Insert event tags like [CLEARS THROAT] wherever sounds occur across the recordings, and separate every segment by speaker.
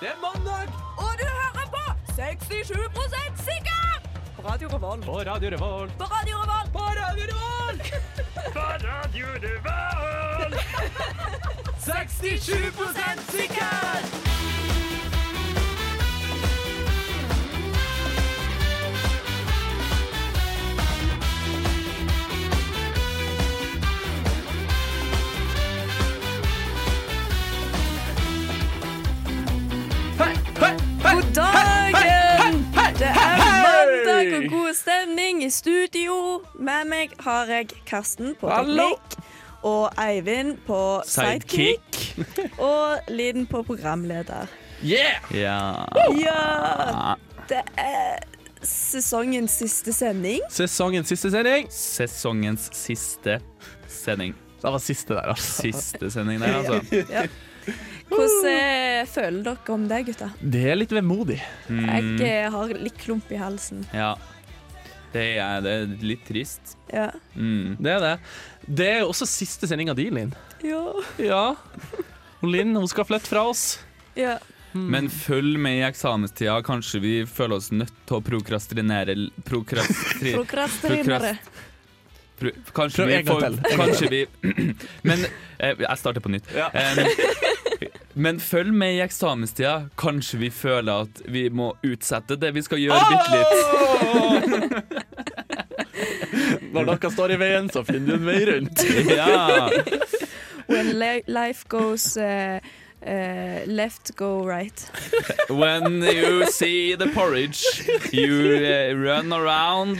Speaker 1: Det er mandag
Speaker 2: Og du hører på 67 sikker! På Radio Revolt.
Speaker 1: på Radio Revolt.
Speaker 2: På Radio Revolt.
Speaker 1: På Radio Revolt! på Radio Revolt! 67 sikker!
Speaker 2: God dagen! Det er mandag og god stemning i studio. Med meg har jeg Karsten på
Speaker 1: Hallo.
Speaker 2: teknikk. Og Eivind på sidekick. Og Liden på programleder.
Speaker 1: Yeah!
Speaker 3: Ja
Speaker 2: Ja! Det er sesongens siste sending.
Speaker 1: Sesongens siste sending.
Speaker 3: Sesongens siste sending.
Speaker 1: Det var siste der, altså.
Speaker 3: Siste sending der,
Speaker 1: [LAUGHS]
Speaker 3: altså.
Speaker 2: Ja. Hvordan eh, føler dere om det, gutta?
Speaker 1: Det er litt vemodig.
Speaker 2: Jeg eh, har litt klump i halsen.
Speaker 3: Ja. Det er, det er litt trist.
Speaker 2: Ja.
Speaker 3: Mm.
Speaker 1: Det er det. Det er jo også siste sendinga di, Linn.
Speaker 2: Ja.
Speaker 1: Ja. Og Linn hun skal flytte fra oss.
Speaker 2: ja.
Speaker 1: Hmm.
Speaker 3: Men følg med i eksamenstida. Kanskje vi føler oss nødt til å prokrastinere prokrastri,
Speaker 1: [LAUGHS]
Speaker 2: Prokrastinere.
Speaker 3: pro, Kanskje
Speaker 1: Prøv
Speaker 3: vi
Speaker 1: en gang
Speaker 3: får
Speaker 1: til. En gang
Speaker 3: [LAUGHS] Kanskje vi [CLEARS THROAT] Men eh, jeg starter på nytt.
Speaker 1: Ja.
Speaker 3: Em, men [LAUGHS] følg med i eksamenstida. Kanskje vi føler at vi må utsette det vi skal gjøre, bitte litt.
Speaker 1: [LAUGHS] Når dere står i veien, så finner du en vei rundt.
Speaker 3: [LAUGHS] Ja.
Speaker 2: When li- life goes eh, eh, left, go right.
Speaker 3: When you see the porridge, you uh, run around,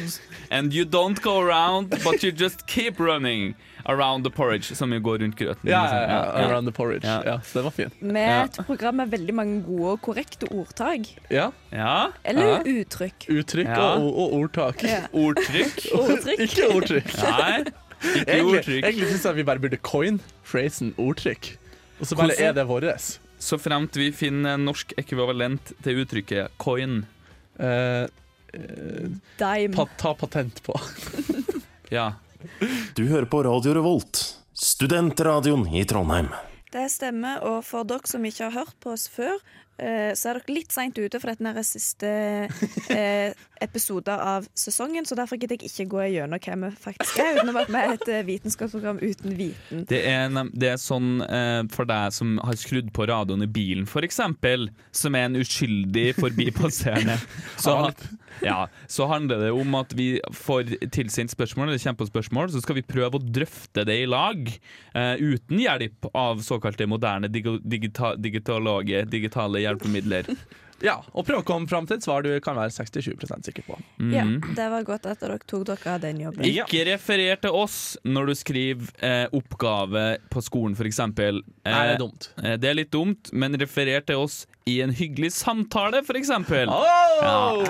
Speaker 3: and you don't go around, but you just keep running around the porridge, som jo går rundt grøten.
Speaker 1: Ja,
Speaker 3: liksom.
Speaker 1: ja, ja. Around the porridge.
Speaker 3: Ja.
Speaker 1: Ja, så det var fint.
Speaker 2: Med
Speaker 3: Ja.
Speaker 2: et program med veldig mange gode og korrekte ordtak.
Speaker 1: Ja.
Speaker 3: Ja.
Speaker 2: Eller uttrykk.
Speaker 3: [LAUGHS]
Speaker 1: Uttrykk
Speaker 3: Ja.
Speaker 1: og, og ordtak.
Speaker 2: Ja.
Speaker 3: Ordtrykk?
Speaker 2: Ordtrykk.
Speaker 1: [LAUGHS] Ikke ordtrykk.
Speaker 3: Nei, ikke
Speaker 1: Egentlig,
Speaker 3: ordtrykk.
Speaker 1: egentlig syns jeg vi bare burde coin phrasen ordtrykk, og så bare
Speaker 3: Hvordan-
Speaker 1: er det våres.
Speaker 3: Så fremt vi finner en norsk ekvivalent til uttrykket coin.
Speaker 1: Eh, eh,
Speaker 2: Dime.
Speaker 1: pa, ta patent på.
Speaker 3: Ja.
Speaker 4: Du hører på Radio Revolt, studentradioen i Trondheim.
Speaker 2: Det stemmer, og for dere som ikke har hørt på oss før, eh, så er dere litt seint ute, for dette er [LAUGHS] siste eh, episode av sesongen, så derfor gidder jeg ikke gå gjennom hvem vi faktisk er, utenom at vi er et eh, vitenskapsprogram uten viten.
Speaker 3: Det er, en- det er sånn eh, for deg som har skrudd på radioen i bilen, for eksempel, som er en uskyldig
Speaker 1: [LAUGHS]
Speaker 3: forbipasserende, så,
Speaker 1: Ja,
Speaker 3: ja, så handler det om at vi får tilsendt spørsmål, eller kommer på spørsmål, så skal vi prøve å drøfte det i lag, eh, uten hjelp av såkalte moderne digi digita digitaloge, digitale hjelpemidler.
Speaker 1: [LAUGHS] Ja, og prøv å komme fram til et svar du kan være 60-20 sikker på.
Speaker 3: Mm.
Speaker 2: Ja, det var godt at dere tok dere av den jobben.
Speaker 1: [LAUGHS] Ja.
Speaker 3: Ikke referer til oss når du skriver eh, oppgave på skolen, for eksempel.
Speaker 1: Nei, det
Speaker 3: Eh,
Speaker 1: er dumt.
Speaker 3: Eh, Det er litt dumt, men referer til oss i en hyggelig samtale, for eksempel.
Speaker 1: Oh!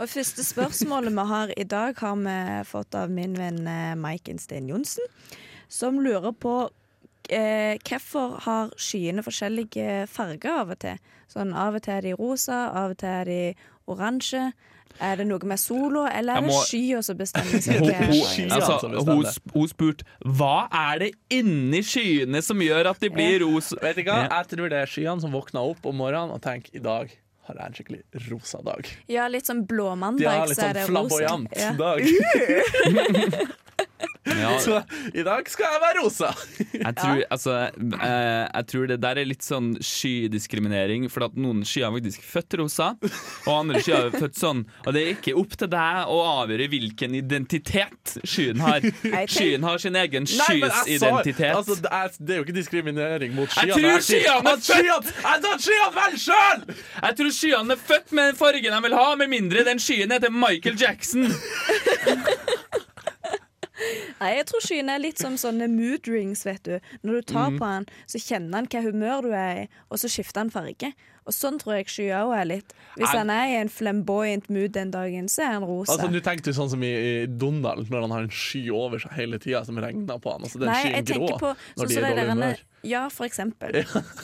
Speaker 2: Og første spørsmålet vi har i dag, har vi fått av min venn eh, Maiken Steen Johnsen, som lurer på eh, hvorfor har skyene forskjellige farger av og til? Sånn Av og til er de rosa, av og til er de oransje. Er det noe med sola, eller
Speaker 3: Jeg
Speaker 2: er
Speaker 3: må-
Speaker 2: det skya som bestemmer
Speaker 1: [LAUGHS]
Speaker 2: seg?
Speaker 3: Hun,
Speaker 2: hva
Speaker 3: hun,
Speaker 2: fargen er?
Speaker 3: altså,
Speaker 1: som bestemmer.
Speaker 3: hun, sp- hun spurte hva er det inni skyene som gjør at de blir ros...
Speaker 1: Vet du hva? Jeg tror det er skyene som våkna opp om morgenen og tenker i dag har jeg en skikkelig rosa dag.
Speaker 2: Ja, litt sånn
Speaker 1: De har
Speaker 2: blåmandag,
Speaker 1: litt
Speaker 2: så er
Speaker 1: sånn
Speaker 2: det rosa.
Speaker 1: flamboyant
Speaker 2: Ja.
Speaker 1: dag.
Speaker 3: [LAUGHS] Ja,
Speaker 1: Så i dag skal jeg være
Speaker 3: [LAUGHS]
Speaker 1: rosa!
Speaker 3: jeg, tror, altså, eh, jeg tror det der er litt sånn skydiskriminering, for at noen skyer er faktisk født rosa, og andre skyer er født sånn. Og det er ikke opp til deg å avgjøre hvilken identitet skyen
Speaker 1: [LAUGHS]
Speaker 3: har.
Speaker 2: tenk-
Speaker 3: Skyen har sin egen
Speaker 1: Nei, men jeg sa-
Speaker 3: skysidentitet.
Speaker 1: Altså, det, er, det er jo ikke diskriminering mot skyene.
Speaker 3: tror
Speaker 1: Jeg sier-
Speaker 3: skyene er
Speaker 1: at skyene- Jeg tar skyene vel sjøl!
Speaker 3: Jeg tror skyene er født med den fargen de vil ha, med mindre den skyen heter Michael Jackson.
Speaker 2: Nei, jeg tror skyen er litt som sånne mood
Speaker 1: Mm.
Speaker 2: rings, vet du. Når du tar på den, så kjenner han hva humør du er i, og så skifter han farge. Og Og sånn tror jeg skya òg er litt. Hvis
Speaker 3: Er-
Speaker 2: han er i en flamboyant mood den dagen, så er han rosa.
Speaker 1: Altså, Nå tenkte du sånn som i, i Donald, når han har en sky over seg hele tida som regner på han. Altså, den
Speaker 2: Nei,
Speaker 1: skyen
Speaker 2: jeg
Speaker 1: grå
Speaker 2: tenker på sånn
Speaker 1: når de
Speaker 2: som
Speaker 1: er i
Speaker 2: den
Speaker 1: dårlig
Speaker 2: derne-
Speaker 1: humør.
Speaker 2: Ja, for eksempel.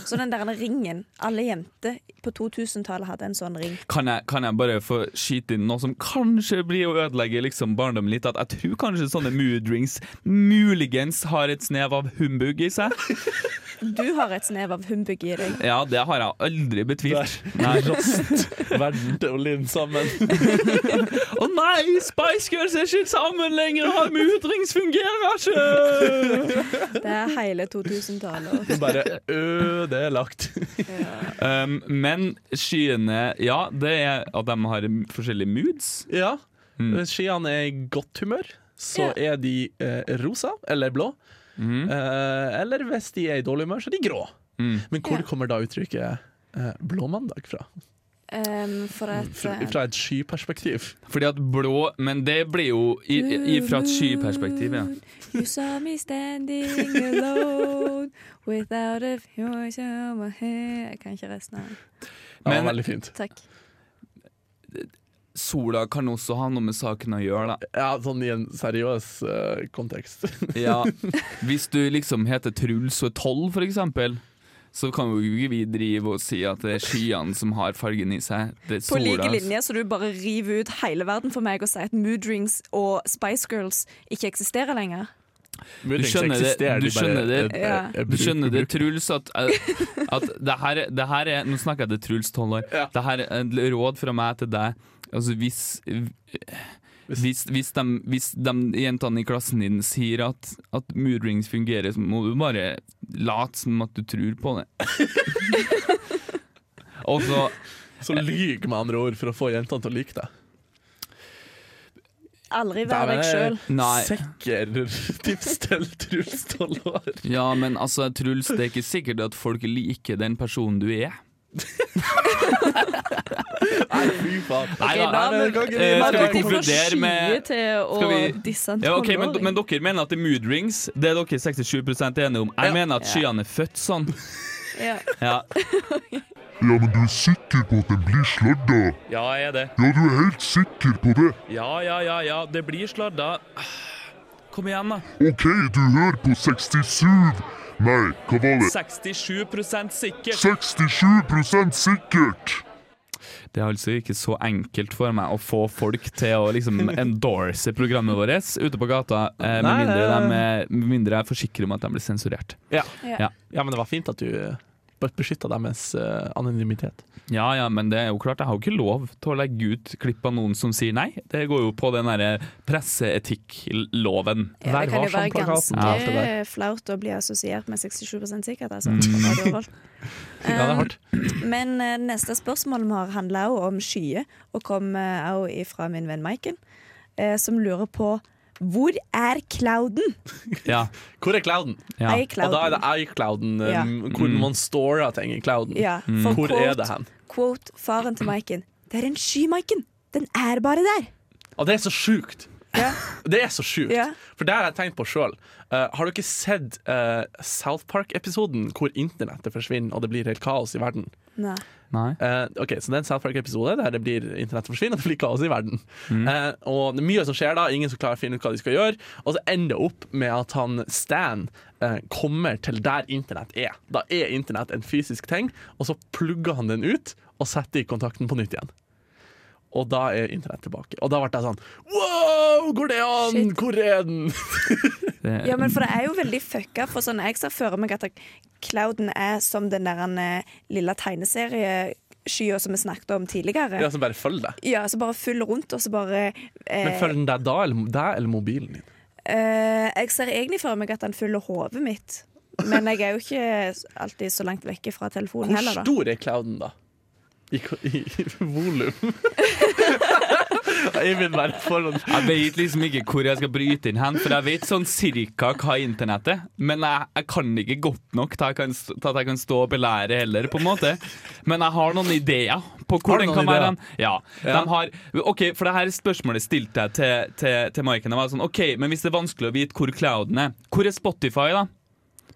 Speaker 2: så den der ringen. Alle jenter på 2000-tallet hadde en sånn ring.
Speaker 3: Kan jeg, kan jeg bare få skyte inn noe som kanskje blir å ødelegge liksom barndommen litt? At jeg tror kanskje sånne mood rings muligens har et snev av humbug i seg.
Speaker 2: Du har et snev av humbug i deg.
Speaker 3: Ja, det har jeg aldri betvilt. Nei.
Speaker 1: Rast verden til å linde sammen.
Speaker 3: Å nei, Spice Girls er ikke sammen lenger, og mood rings fungerer ikke!
Speaker 2: Det er hele 2000-tallet.
Speaker 1: [LAUGHS] Det er [LAUGHS] Bare ødelagt.
Speaker 3: Um, men skyene, ja, det er at de har forskjellige moods.
Speaker 1: [LAUGHS] Ja. Hvis skiene er i godt humør, så er de eh, rosa eller blå. Eh, eller hvis de er i dårlig humør, så er de grå. Men hvor
Speaker 2: Ja.
Speaker 1: kommer da uttrykket eh, blåmandag fra?
Speaker 2: Um, for at
Speaker 1: Fra,
Speaker 2: eh,
Speaker 1: fra et skyperspektiv.
Speaker 3: Fordi at blå Men det blir jo i, i, i fra et skyperspektiv, ja.
Speaker 2: You saw me standing alone without a voice of my head. Jeg kan ikke resten av den.
Speaker 1: Ja,
Speaker 3: Men-
Speaker 1: veldig fint.
Speaker 2: Takk.
Speaker 3: Sola kan også ha noe med saken å gjøre, da.
Speaker 1: Ja, sånn i en seriøs eh, kontekst.
Speaker 3: [LAUGHS]
Speaker 1: [LAUGHS]
Speaker 3: Ja. Hvis du liksom heter Truls og er tolv, for eksempel, så kan jo ikke vi drive og si at det er skyene som har fargen i seg. Det er
Speaker 2: På like
Speaker 3: sola. altså.
Speaker 2: linje så du bare river ut hele verden for meg og sier at Mood Rings og Spice Girls ikke eksisterer lenger.
Speaker 1: Muligens
Speaker 3: skjønner det-
Speaker 1: eksisterer de
Speaker 3: du
Speaker 1: bare-
Speaker 3: skjønner det-
Speaker 1: eh,
Speaker 2: Ja.
Speaker 1: eh,
Speaker 3: Du skjønner det, Truls, at, eh, at det, her, det her er Nå snakker jeg til Truls, tolv år.
Speaker 1: Ja.
Speaker 3: Det her er et råd fra meg til deg. Altså, hvis hvis, hvis, de, hvis de jentene i klassen din sier at, at mood rings fungerer, så må du bare late som at du tror på det. Og så
Speaker 1: Så lyg med andre ord for å få jentene til å like deg.
Speaker 2: Aldri vær deg sjøl.
Speaker 3: Nei.
Speaker 1: Sikker tips til Truls tolv år.
Speaker 3: Ja, men altså, Truls, det er ikke sikkert at folk liker den personen du er.
Speaker 1: Nei, fy faen.
Speaker 3: Nei da.
Speaker 1: da, men-
Speaker 3: Eh, skal vi
Speaker 1: Nei,
Speaker 3: konkludere med
Speaker 2: til å
Speaker 3: Skal vi-
Speaker 2: disse en
Speaker 3: Ja, ok, men,
Speaker 2: tolvåring?
Speaker 3: men dere mener at det er mood rings. Det er dere 67 er enige om. Jeg
Speaker 1: Ja.
Speaker 3: mener at skyene er født sånn.
Speaker 2: ja.
Speaker 3: [LAUGHS] Ja,
Speaker 5: Ja, men du er sikker på at den blir sladda?
Speaker 3: ja jeg er det.
Speaker 5: Ja, du er helt sikker på det?
Speaker 3: Ja, ja, ja, ja. Det blir sladda. Kom igjen, da.
Speaker 5: Ok, du hører på 67 Nei, hva var det?
Speaker 3: 67 sikkert.
Speaker 5: 67 sikkert!
Speaker 3: Det er altså ikke så enkelt for meg å få folk til å liksom [LAUGHS] endorse programmet vårt ute på gata, eh, med,
Speaker 1: Nei, det-
Speaker 3: mindre de, eh, med mindre jeg forsikrer om at de blir sensurert.
Speaker 1: Ja.
Speaker 2: Ja.
Speaker 3: Ja.
Speaker 1: ja, men det var fint at du eh, beskytta deres eh, anonymitet.
Speaker 3: Ja, ja, men det er jo klart, jeg har jo ikke lov til å legge ut klipp av noen som sier nei. Det går jo på den derre presseetikk-loven.
Speaker 2: Ja, det kan jo være ganske
Speaker 3: Ja, alt det der.
Speaker 2: flaut å bli assosiert med 67 sikkert, altså.
Speaker 3: Mm.
Speaker 2: på Radio Revolt.
Speaker 1: Ja, det er hardt.
Speaker 2: Men eh, neste spørsmål vi har handla òg om skyer, og kom òg ifra min venn Maiken, eh, som lurer på hvor er clouden?
Speaker 3: Ja,
Speaker 1: Hvor er clouden?
Speaker 3: ja.
Speaker 2: Er
Speaker 1: Og da er
Speaker 2: clouden?
Speaker 1: det i-clouden, eh,
Speaker 2: Ja.
Speaker 1: hvor man storer ting i clouden.
Speaker 2: Ja, for
Speaker 1: Hvor
Speaker 2: quote,
Speaker 1: er det hen?
Speaker 2: Quote faren til Maiken. Det er en sky, Maiken. Den er bare der.
Speaker 1: Og det er så sjukt!
Speaker 2: Ja.
Speaker 1: Det er så sjukt.
Speaker 2: Ja.
Speaker 1: For det har jeg tenkt på sjøl. har dere sett eh, South Park-episoden hvor internettet forsvinner og det blir helt kaos i verden?
Speaker 2: Nei.
Speaker 3: Nei.
Speaker 1: Eh, ok, Så det er en South Park-episode der det blir internettet forsvinner og det blir kaos i verden. Eh, og det er mye som skjer da, ingen som klarer å finne ut hva de skal gjøre. Og så ender det opp med at han Stan eh, kommer til der internett er. Da er internett en fysisk ting, og så plugger han den ut og setter i kontakten på nytt igjen. Og da er internett tilbake. Og da ble jeg sånn Wow, går det an?
Speaker 2: Shit.
Speaker 1: Hvor er den? [LAUGHS]
Speaker 3: Det,
Speaker 2: Ja, men for det er jo veldig fucka. For sånn, jeg ser for meg at Clouden er som den der eh, lille tegneserieskya som vi snakket om
Speaker 1: Ja,
Speaker 2: tidligere.
Speaker 1: så bare følg det.
Speaker 2: Ja, så bare fyll rundt, og så bare eh,
Speaker 1: Men følg den deg da, eller deg eller mobilen din?
Speaker 2: eh, Jeg ser egentlig for meg at han fyller hodet mitt. Men jeg er jo ikke alltid så langt vekke fra telefonen
Speaker 1: Hvor
Speaker 2: heller, da.
Speaker 1: stor er clouden, da? I, ko- i, [LAUGHS] i
Speaker 3: [LAUGHS]
Speaker 1: volum? Jeg vil bare få noen
Speaker 3: jeg vet liksom ikke hvor jeg skal bryte inn hen, for jeg vet sånn cirka hva internett er. Men jeg, jeg kan det ikke godt nok til, jeg kan, st- til at jeg kan stå og belære heller, på en måte. Men jeg har noen ideer på
Speaker 1: Har
Speaker 3: hvor
Speaker 1: du
Speaker 3: den
Speaker 1: noen
Speaker 3: kan
Speaker 1: ideer?
Speaker 3: være. hen. Ja,
Speaker 1: Ja.
Speaker 3: De har, ok, for det her spørsmålet stilte jeg til, til, til Maiken. Jeg var sånn, ok, men hvis det er vanskelig å vite hvor clouden er, hvor er Spotify da?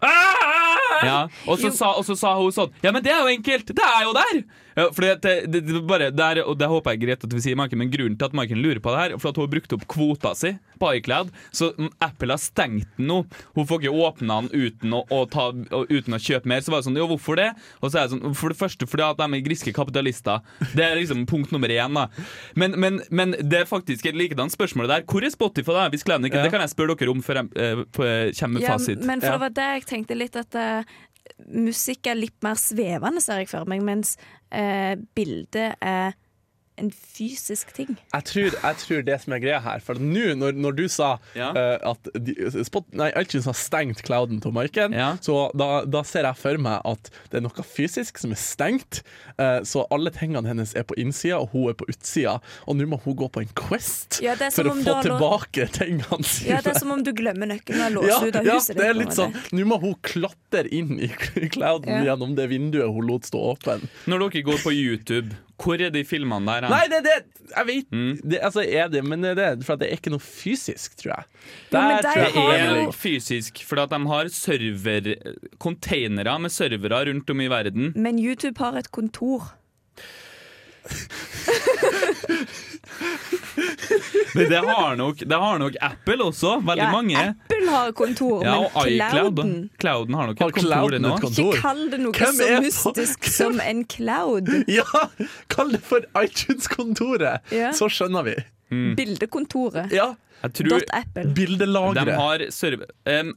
Speaker 3: Ah!
Speaker 2: [LAUGHS]
Speaker 3: Ja. Og, så sa, og så sa hun sånn Ja, men det er jo enkelt! Det er jo der! Ja, fordi at det, det, det var bare der, og det håper jeg er greit at vi sier, Maiken, men grunnen til at Maiken lurer på det her, er for at hun har brukt opp kvota si på iCloud. Så mm, Apple har stengt den nå. Hun får ikke åpna den uten å, å ta, og uten å kjøpe mer. Så var det sånn Jo, hvorfor det? Og så er det sånn For det første fordi at de er griske kapitalister. Det er liksom punkt nummer én, da. Men, men, men det er faktisk et likedan spørsmål der. Hvor er Spotify, da? Vi sklemmer ikke. Det kan jeg spørre dere om før jeg eh, kommer med
Speaker 2: Ja,
Speaker 3: fasit.
Speaker 2: men for
Speaker 1: Ja.
Speaker 2: det var det jeg tenkte litt at eh, musikk er litt mer svevende, ser jeg for meg, mens eh, bildet er en fysisk ting.
Speaker 1: Jeg tror, jeg tror det som er greia her For nå, når, når du sa
Speaker 3: Ja.
Speaker 1: eh, at de, spot, nei, iTunes har stengt clouden til Maiken,
Speaker 3: Ja.
Speaker 1: så da, da ser jeg for meg at det er noe fysisk som er stengt. eh, så alle tingene hennes er på innsida, og hun er på utsida. Og nå må hun gå på en quest
Speaker 2: Ja, det er som
Speaker 1: for å
Speaker 2: om du
Speaker 1: få
Speaker 2: har lov-
Speaker 1: tilbake tingene sine.
Speaker 2: Ja, Det er som om du glemmer nøkkelen og låser
Speaker 1: Ja,
Speaker 2: ut av
Speaker 1: ja,
Speaker 2: huset.
Speaker 1: det er
Speaker 2: ditt,
Speaker 1: litt
Speaker 2: på en
Speaker 1: sånn
Speaker 2: måte.
Speaker 1: Nå må hun klatre inn i clouden
Speaker 2: Ja.
Speaker 1: gjennom det vinduet hun lot stå åpen.
Speaker 3: Når dere går på YouTube, hvor er de filmene der? hen?
Speaker 1: Nei, det er det! Jeg vet
Speaker 3: Mm.
Speaker 1: det, altså, er det, men det er det, for at det er ikke noe fysisk, tror jeg.
Speaker 2: Jo, men de
Speaker 1: tror jeg
Speaker 2: har
Speaker 1: er
Speaker 2: jo-
Speaker 1: litt-
Speaker 3: er fysisk, for at de har server containere med servere rundt om i verden.
Speaker 2: Men YouTube har et kontor.
Speaker 3: Men det har nok, det har nok Apple også, veldig
Speaker 2: Ja,
Speaker 3: mange.
Speaker 2: Apple har kontor,
Speaker 3: Ja,
Speaker 2: men
Speaker 3: og iCloud.
Speaker 2: clouden
Speaker 3: Clouden har nok
Speaker 1: Har
Speaker 3: et kontor
Speaker 1: clouden
Speaker 3: nå.
Speaker 1: et kontor?
Speaker 2: Ikke kall det noe
Speaker 1: Hvem
Speaker 2: så
Speaker 1: er på-
Speaker 2: mystisk som en cloud.
Speaker 1: [LAUGHS] Ja! Kall det for iTunes-kontoret,
Speaker 2: Ja.
Speaker 1: så skjønner vi.
Speaker 2: Mm. Bildekontoret.
Speaker 1: Ja,
Speaker 3: Jeg tror
Speaker 2: Dot Apple.
Speaker 3: de
Speaker 1: Bildelagre.
Speaker 3: har server... em,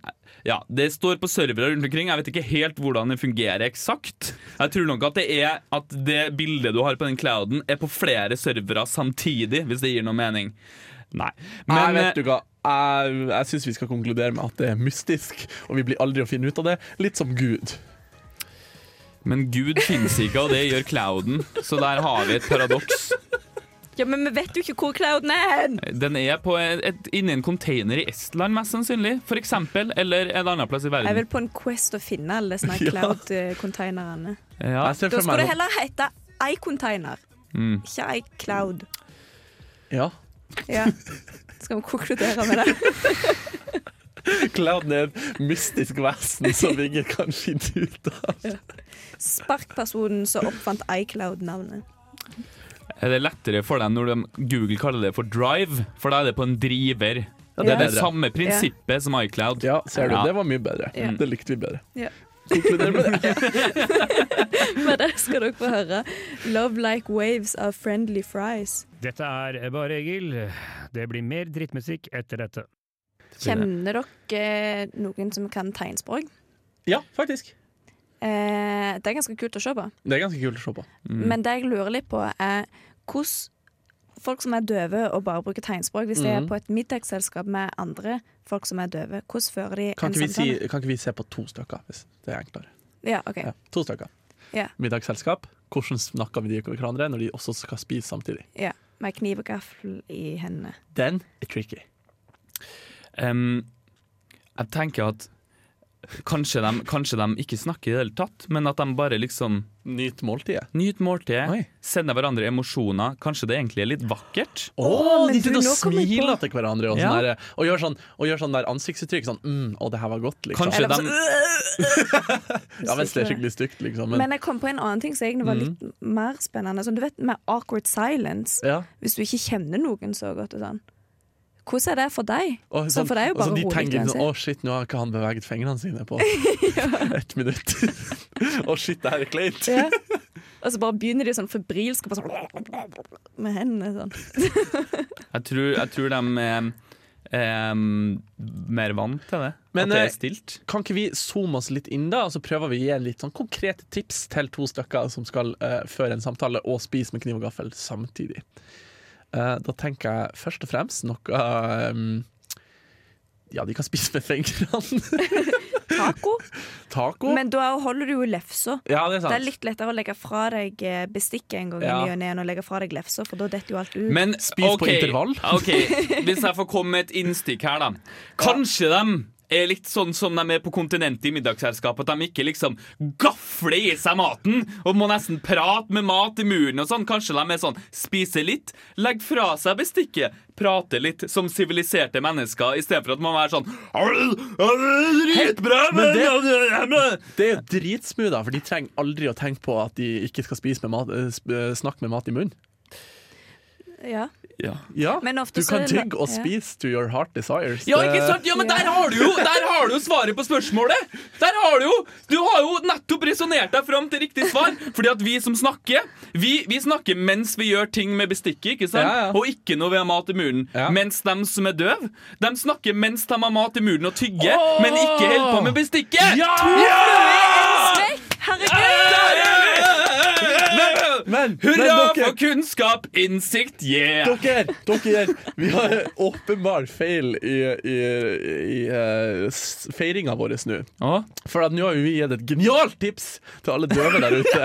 Speaker 3: ja, det står på servere rundt omkring. Jeg vet ikke helt hvordan det fungerer eksakt. Jeg tror nok at det er at det bildet du har på den clouden, er på flere servere samtidig, hvis det gir noe mening. Nei.
Speaker 1: Men,
Speaker 3: eh,
Speaker 1: vet du hva? Jeg, jeg syns vi skal konkludere med at det er mystisk, og vi blir aldri å finne ut av det. Litt som Gud.
Speaker 3: Men Gud finnes ikke, og det gjør clouden. Så der har vi et paradoks.
Speaker 2: Ja, Men vi vet jo ikke hvor clouden er hen!
Speaker 3: Den er på et, et, inni en container i Estland, mest sannsynlig. For eksempel. Eller en annen plass i
Speaker 2: Jeg vil
Speaker 3: verden.
Speaker 2: på en Quest å finne alle [LAUGHS] sånne
Speaker 1: Ja.
Speaker 2: cloud-containerne.
Speaker 3: Ja.
Speaker 1: Jeg ser
Speaker 2: Da
Speaker 1: for meg
Speaker 2: skulle det Mm.
Speaker 1: noe-
Speaker 2: heller hete iContainer, ikke [LAUGHS] iCloud.
Speaker 1: ja.
Speaker 2: Ja. Skal vi konkludere med det?
Speaker 1: Clouden er et mystisk vesen som ingen kan finne ut av.
Speaker 2: Spark personen som oppfant iCloud-navnet.
Speaker 3: Er det lettere for deg når de Google kaller det for drive? For da er det på en driver.
Speaker 1: Ja,
Speaker 3: Det er
Speaker 2: Ja.
Speaker 3: det samme prinsippet som iCloud.
Speaker 1: Ja, ser du.
Speaker 3: Ja.
Speaker 1: Det var mye bedre.
Speaker 2: Ja.
Speaker 1: Det likte vi bedre.
Speaker 2: Ja.
Speaker 1: Konkluder med det.
Speaker 2: Men der skal dere få høre 'Love Like Waves' av Friendly Fries.
Speaker 6: Dette er Bare Egil. Det blir mer drittmusikk etter dette.
Speaker 2: Kjenner dere eh, noen som kan tegnspråk?
Speaker 1: Ja, faktisk.
Speaker 2: Eh, det er ganske kult å se på.
Speaker 1: Det er ganske kult å se på.
Speaker 2: Men det jeg lurer litt på, er hvordan folk som er døve og bare bruker tegnspråk, hvis de
Speaker 1: Mm.
Speaker 2: er på et middagsselskap med andre folk som er døve, hvordan fører de
Speaker 1: Kan
Speaker 2: en
Speaker 1: ikke vi, si,
Speaker 2: samtale?
Speaker 1: kan ikke vi se på to stykker, hvis det er enklere?
Speaker 2: Ja, ok.
Speaker 1: Ja, to stykker.
Speaker 2: Ja.
Speaker 1: Middagsselskap. Hvordan snakker vi de over hverandre når de også skal spise samtidig?
Speaker 2: Ja. Med kniv og gaffel i hendene.
Speaker 1: Den er tricky.
Speaker 3: Em, jeg tenker at kanskje de, kanskje de ikke snakker i det hele tatt, men at de bare liksom
Speaker 1: Nyt måltidet.
Speaker 3: Nyt måltidet,
Speaker 1: Oi.
Speaker 3: sender hverandre emosjoner. Kanskje det egentlig er litt vakkert?
Speaker 1: Å,
Speaker 2: men
Speaker 1: de
Speaker 2: du,
Speaker 1: sitter og
Speaker 2: nå kom jeg
Speaker 1: smiler
Speaker 2: på-
Speaker 1: til hverandre og,
Speaker 3: Ja.
Speaker 1: sånn der, og gjør sånn, og gjør sånn der ansiktsuttrykk. Sånn mm, 'Å, det her var godt', liksom.
Speaker 3: Kanskje
Speaker 2: Eller
Speaker 3: de
Speaker 1: Ja, mens det er skikkelig stygt, liksom. Men, Mm.
Speaker 2: Men jeg kom på en annen ting som egentlig var litt mer spennende. Som du vet, med awkward silence,
Speaker 1: ja.
Speaker 2: hvis du ikke kjenner noen så godt og sånn. Hvordan er det for deg?
Speaker 1: Og
Speaker 2: så for deg er jo
Speaker 1: og sånn,
Speaker 2: bare
Speaker 1: de
Speaker 2: hodet
Speaker 1: tenker
Speaker 2: grenser.
Speaker 1: sånn 'Å, shit, nå har ikke han beveget fingrene sine
Speaker 2: [LAUGHS]
Speaker 1: på [LAUGHS] ett minutt'. [LAUGHS] 'Å, shit, det her er kleint'.
Speaker 2: Ja. Og så bare begynner de sånn febrilsk og bare sånn med hendene sånn.
Speaker 1: [LAUGHS] øh!
Speaker 3: Jeg tror, jeg tror de er, er mer vant til det.
Speaker 1: Men,
Speaker 3: at det
Speaker 1: eh,
Speaker 3: er stilt.
Speaker 1: kan ikke vi zoome oss litt inn da, og så prøver vi å gi litt sånn konkrete tips til to stykker som skal eh, føre en samtale og spise med kniv og gaffel samtidig. Eh, da tenker jeg først og fremst noe ehm, Ja, de kan spise med fingrene. [LAUGHS]
Speaker 2: Taco.
Speaker 1: Taco.
Speaker 2: Men da holder du jo lefsa.
Speaker 1: ja, det er
Speaker 2: Det er
Speaker 1: sant.
Speaker 2: litt lettere å legge fra deg eh, bestikket en gang i
Speaker 1: Ja.
Speaker 2: ny og ne enn å legge fra deg lefsa, for da detter jo alt ut.
Speaker 3: Men,
Speaker 1: Spis på
Speaker 3: ok,
Speaker 1: intervall.
Speaker 3: ok, Hvis jeg får komme med et innstikk her, da. Kanskje de er litt sånn som de er på kontinentet i middagsselskapet. At de ikke liksom gafler i seg maten og må nesten prate med mat i muren og sånn. Kanskje de er sånn spiser litt, legger fra seg bestikket, prater litt som siviliserte mennesker, i stedet for at man er sånn «Arr, arr, Dritbra!
Speaker 1: men det-
Speaker 3: men-
Speaker 1: Det er jo dritsmooth, da, for de trenger aldri å tenke på at de ikke skal spise med mat, eh, sp- eh, snakke med mat i munnen.
Speaker 2: Ja.
Speaker 3: Ja.
Speaker 1: Ja,
Speaker 2: Men ofte
Speaker 1: Du
Speaker 2: så
Speaker 1: kan
Speaker 2: er det-
Speaker 1: tygge og
Speaker 2: ja.
Speaker 1: spise to your heart desires.
Speaker 3: Ja,
Speaker 1: Det-
Speaker 3: ikke sant? Ja, men der har du jo, der har du jo svaret på spørsmålet! Der har Du jo Du har jo nettopp resonnert deg fram til riktig svar. Fordi at vi som snakker, vi, vi snakker mens vi gjør ting med bestikket, ikke sant?
Speaker 1: Ja, ja.
Speaker 3: Og ikke når vi har mat i muren.
Speaker 1: Ja.
Speaker 3: Mens dem som er døv, de snakker mens de har mat i muren og tygger,
Speaker 1: Åh!
Speaker 3: men ikke holder på med bestikket!
Speaker 1: Ja!
Speaker 3: Ah!
Speaker 2: Herregud!
Speaker 1: Men, men
Speaker 3: Hurra
Speaker 1: dere,
Speaker 3: for kunnskap, innsikt, yeah!
Speaker 1: dere, dere Vi har åpenbar feil i, i, i eh, s- feiringa vår nå.
Speaker 3: Åh.
Speaker 1: For at nå har jo vi gitt et genialt tips til alle døve der ute.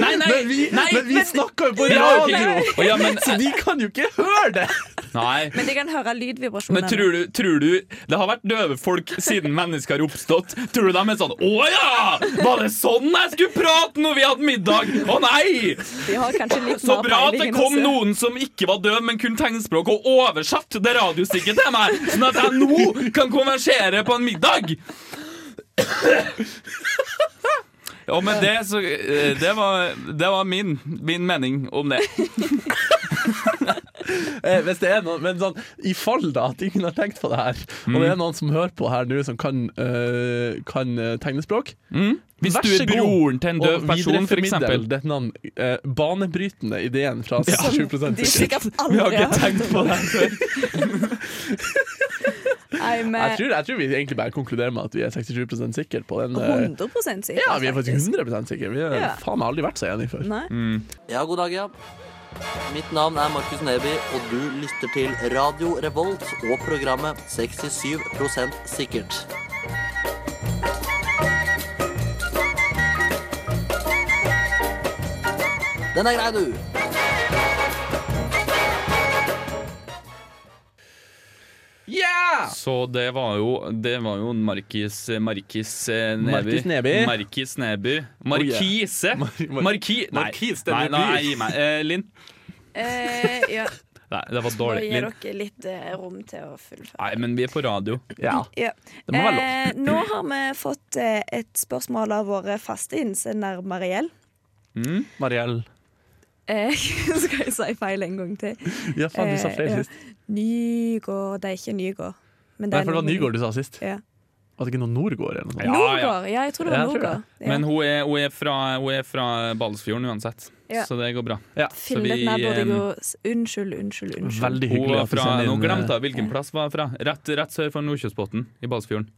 Speaker 3: Nei, nei,
Speaker 1: Men vi,
Speaker 3: nei!
Speaker 1: men vi snakker jo på
Speaker 3: Ja, ok.
Speaker 1: radio!
Speaker 3: Å, ja, men,
Speaker 1: [LAUGHS] Så de kan jo ikke høre det!
Speaker 3: nei.
Speaker 2: Men de kan høre
Speaker 3: Men
Speaker 2: lydvibrasjonene.
Speaker 3: tror du, tror du Det har vært døve folk siden mennesker har oppstått. Tror du de er sånn 'Å ja! Var det sånn jeg skulle prate når vi hadde middag?' Å nei!
Speaker 2: De har kanskje litt
Speaker 3: Så
Speaker 2: mer
Speaker 3: bra at det
Speaker 2: peiling enn
Speaker 3: kom
Speaker 2: oss.
Speaker 3: noen som ikke var døv, men kunne tegnspråk, og oversatt det radiostykket til meg, sånn at jeg nå kan konversere på en middag! Ja, men det, så, eh, det var, det var min, min mening om det.
Speaker 1: Eh, hvis det er noen, men sånn, I fall da at ingen har tenkt på det her, og
Speaker 3: Mm.
Speaker 1: det er noen som hører på her nå som kan, eh, kan eh, tegnespråk
Speaker 3: Mm. Hvis
Speaker 1: Vær
Speaker 3: du er
Speaker 1: så god,
Speaker 3: broren til en døv
Speaker 1: og
Speaker 3: person, for
Speaker 1: videreformidle
Speaker 3: eksempel.
Speaker 1: denne eh, banebrytende ideen fra 7
Speaker 2: Sånn, De sikkert
Speaker 3: Vi har
Speaker 2: aldri
Speaker 3: ikke
Speaker 2: har
Speaker 3: tenkt på det før.
Speaker 2: Nei,
Speaker 1: Jeg
Speaker 2: men
Speaker 1: tror, jeg tror vi egentlig bare konkluderer med at vi er 67 sikre på den. eh,
Speaker 2: 100 sikker.
Speaker 1: Ja, vi er faktisk 100 sikre. Vi har
Speaker 2: Ja.
Speaker 1: faen meg aldri vært så enige før.
Speaker 2: Nei.
Speaker 3: Mm.
Speaker 7: Ja, god dag, ja. Mitt navn er Markus Neby, og du lytter til Radio Revolt og programmet 67 sikkert. Den er grei, du.
Speaker 3: Så det var jo, det var jo Markis Markis eh, Neby.
Speaker 1: Markis Neby. Oh,
Speaker 3: Markis Neby. Markise.
Speaker 1: mar-
Speaker 3: Marki... Nei,
Speaker 1: Markis, det er
Speaker 3: nei,
Speaker 1: Neby.
Speaker 3: nei gi meg. Eh, Linn.
Speaker 2: Eh,
Speaker 3: [LAUGHS]
Speaker 2: ja.
Speaker 3: Nei, det var
Speaker 2: Nå
Speaker 3: dårlig. Ah,
Speaker 2: gir
Speaker 3: Linn.
Speaker 2: dere litt eh, rom til å fullføre.
Speaker 3: Nei, men vi er på radio.
Speaker 1: Ja.
Speaker 2: Ja.
Speaker 1: Det må være lov.
Speaker 2: Eh, nå har vi fått eh, et spørsmål av våre faste innsender Mariell.
Speaker 1: Mariell.
Speaker 2: Eh, [LAUGHS] skal jeg si feil en gang til?
Speaker 1: Ja, faen, du sa
Speaker 2: Eh,
Speaker 1: feil
Speaker 2: ja.
Speaker 1: sist.
Speaker 2: Nygård Det er ikke Nygård. Men
Speaker 1: Nei, for det
Speaker 2: noe
Speaker 1: var
Speaker 2: med
Speaker 1: Nygård du sa sist.
Speaker 2: Ja.
Speaker 1: Var det ikke noe Nordgård eller noe sånt?
Speaker 3: Ja,
Speaker 2: Nordgård, ja, jeg tror
Speaker 1: Ja,
Speaker 2: det var
Speaker 1: jeg tror
Speaker 2: Nordgård. Ja.
Speaker 3: Men hun er, hun er fra, hun er fra Balsfjorden uansett,
Speaker 2: Ja.
Speaker 3: så det går bra.
Speaker 1: Ja.
Speaker 3: så
Speaker 2: Fillet
Speaker 3: vi,
Speaker 2: ned burde
Speaker 3: eh,
Speaker 2: jeg jo s- Unnskyld, unnskyld, unnskyld.
Speaker 1: Veldig
Speaker 3: Hun
Speaker 1: hyggelig
Speaker 3: var
Speaker 1: at du
Speaker 3: fra,
Speaker 1: sender
Speaker 3: nå
Speaker 1: inn
Speaker 3: glemte
Speaker 1: eh,
Speaker 3: jeg hvilken plass var hun fra. Rett, rett sør for Nordkjøsbotn i Balsfjorden.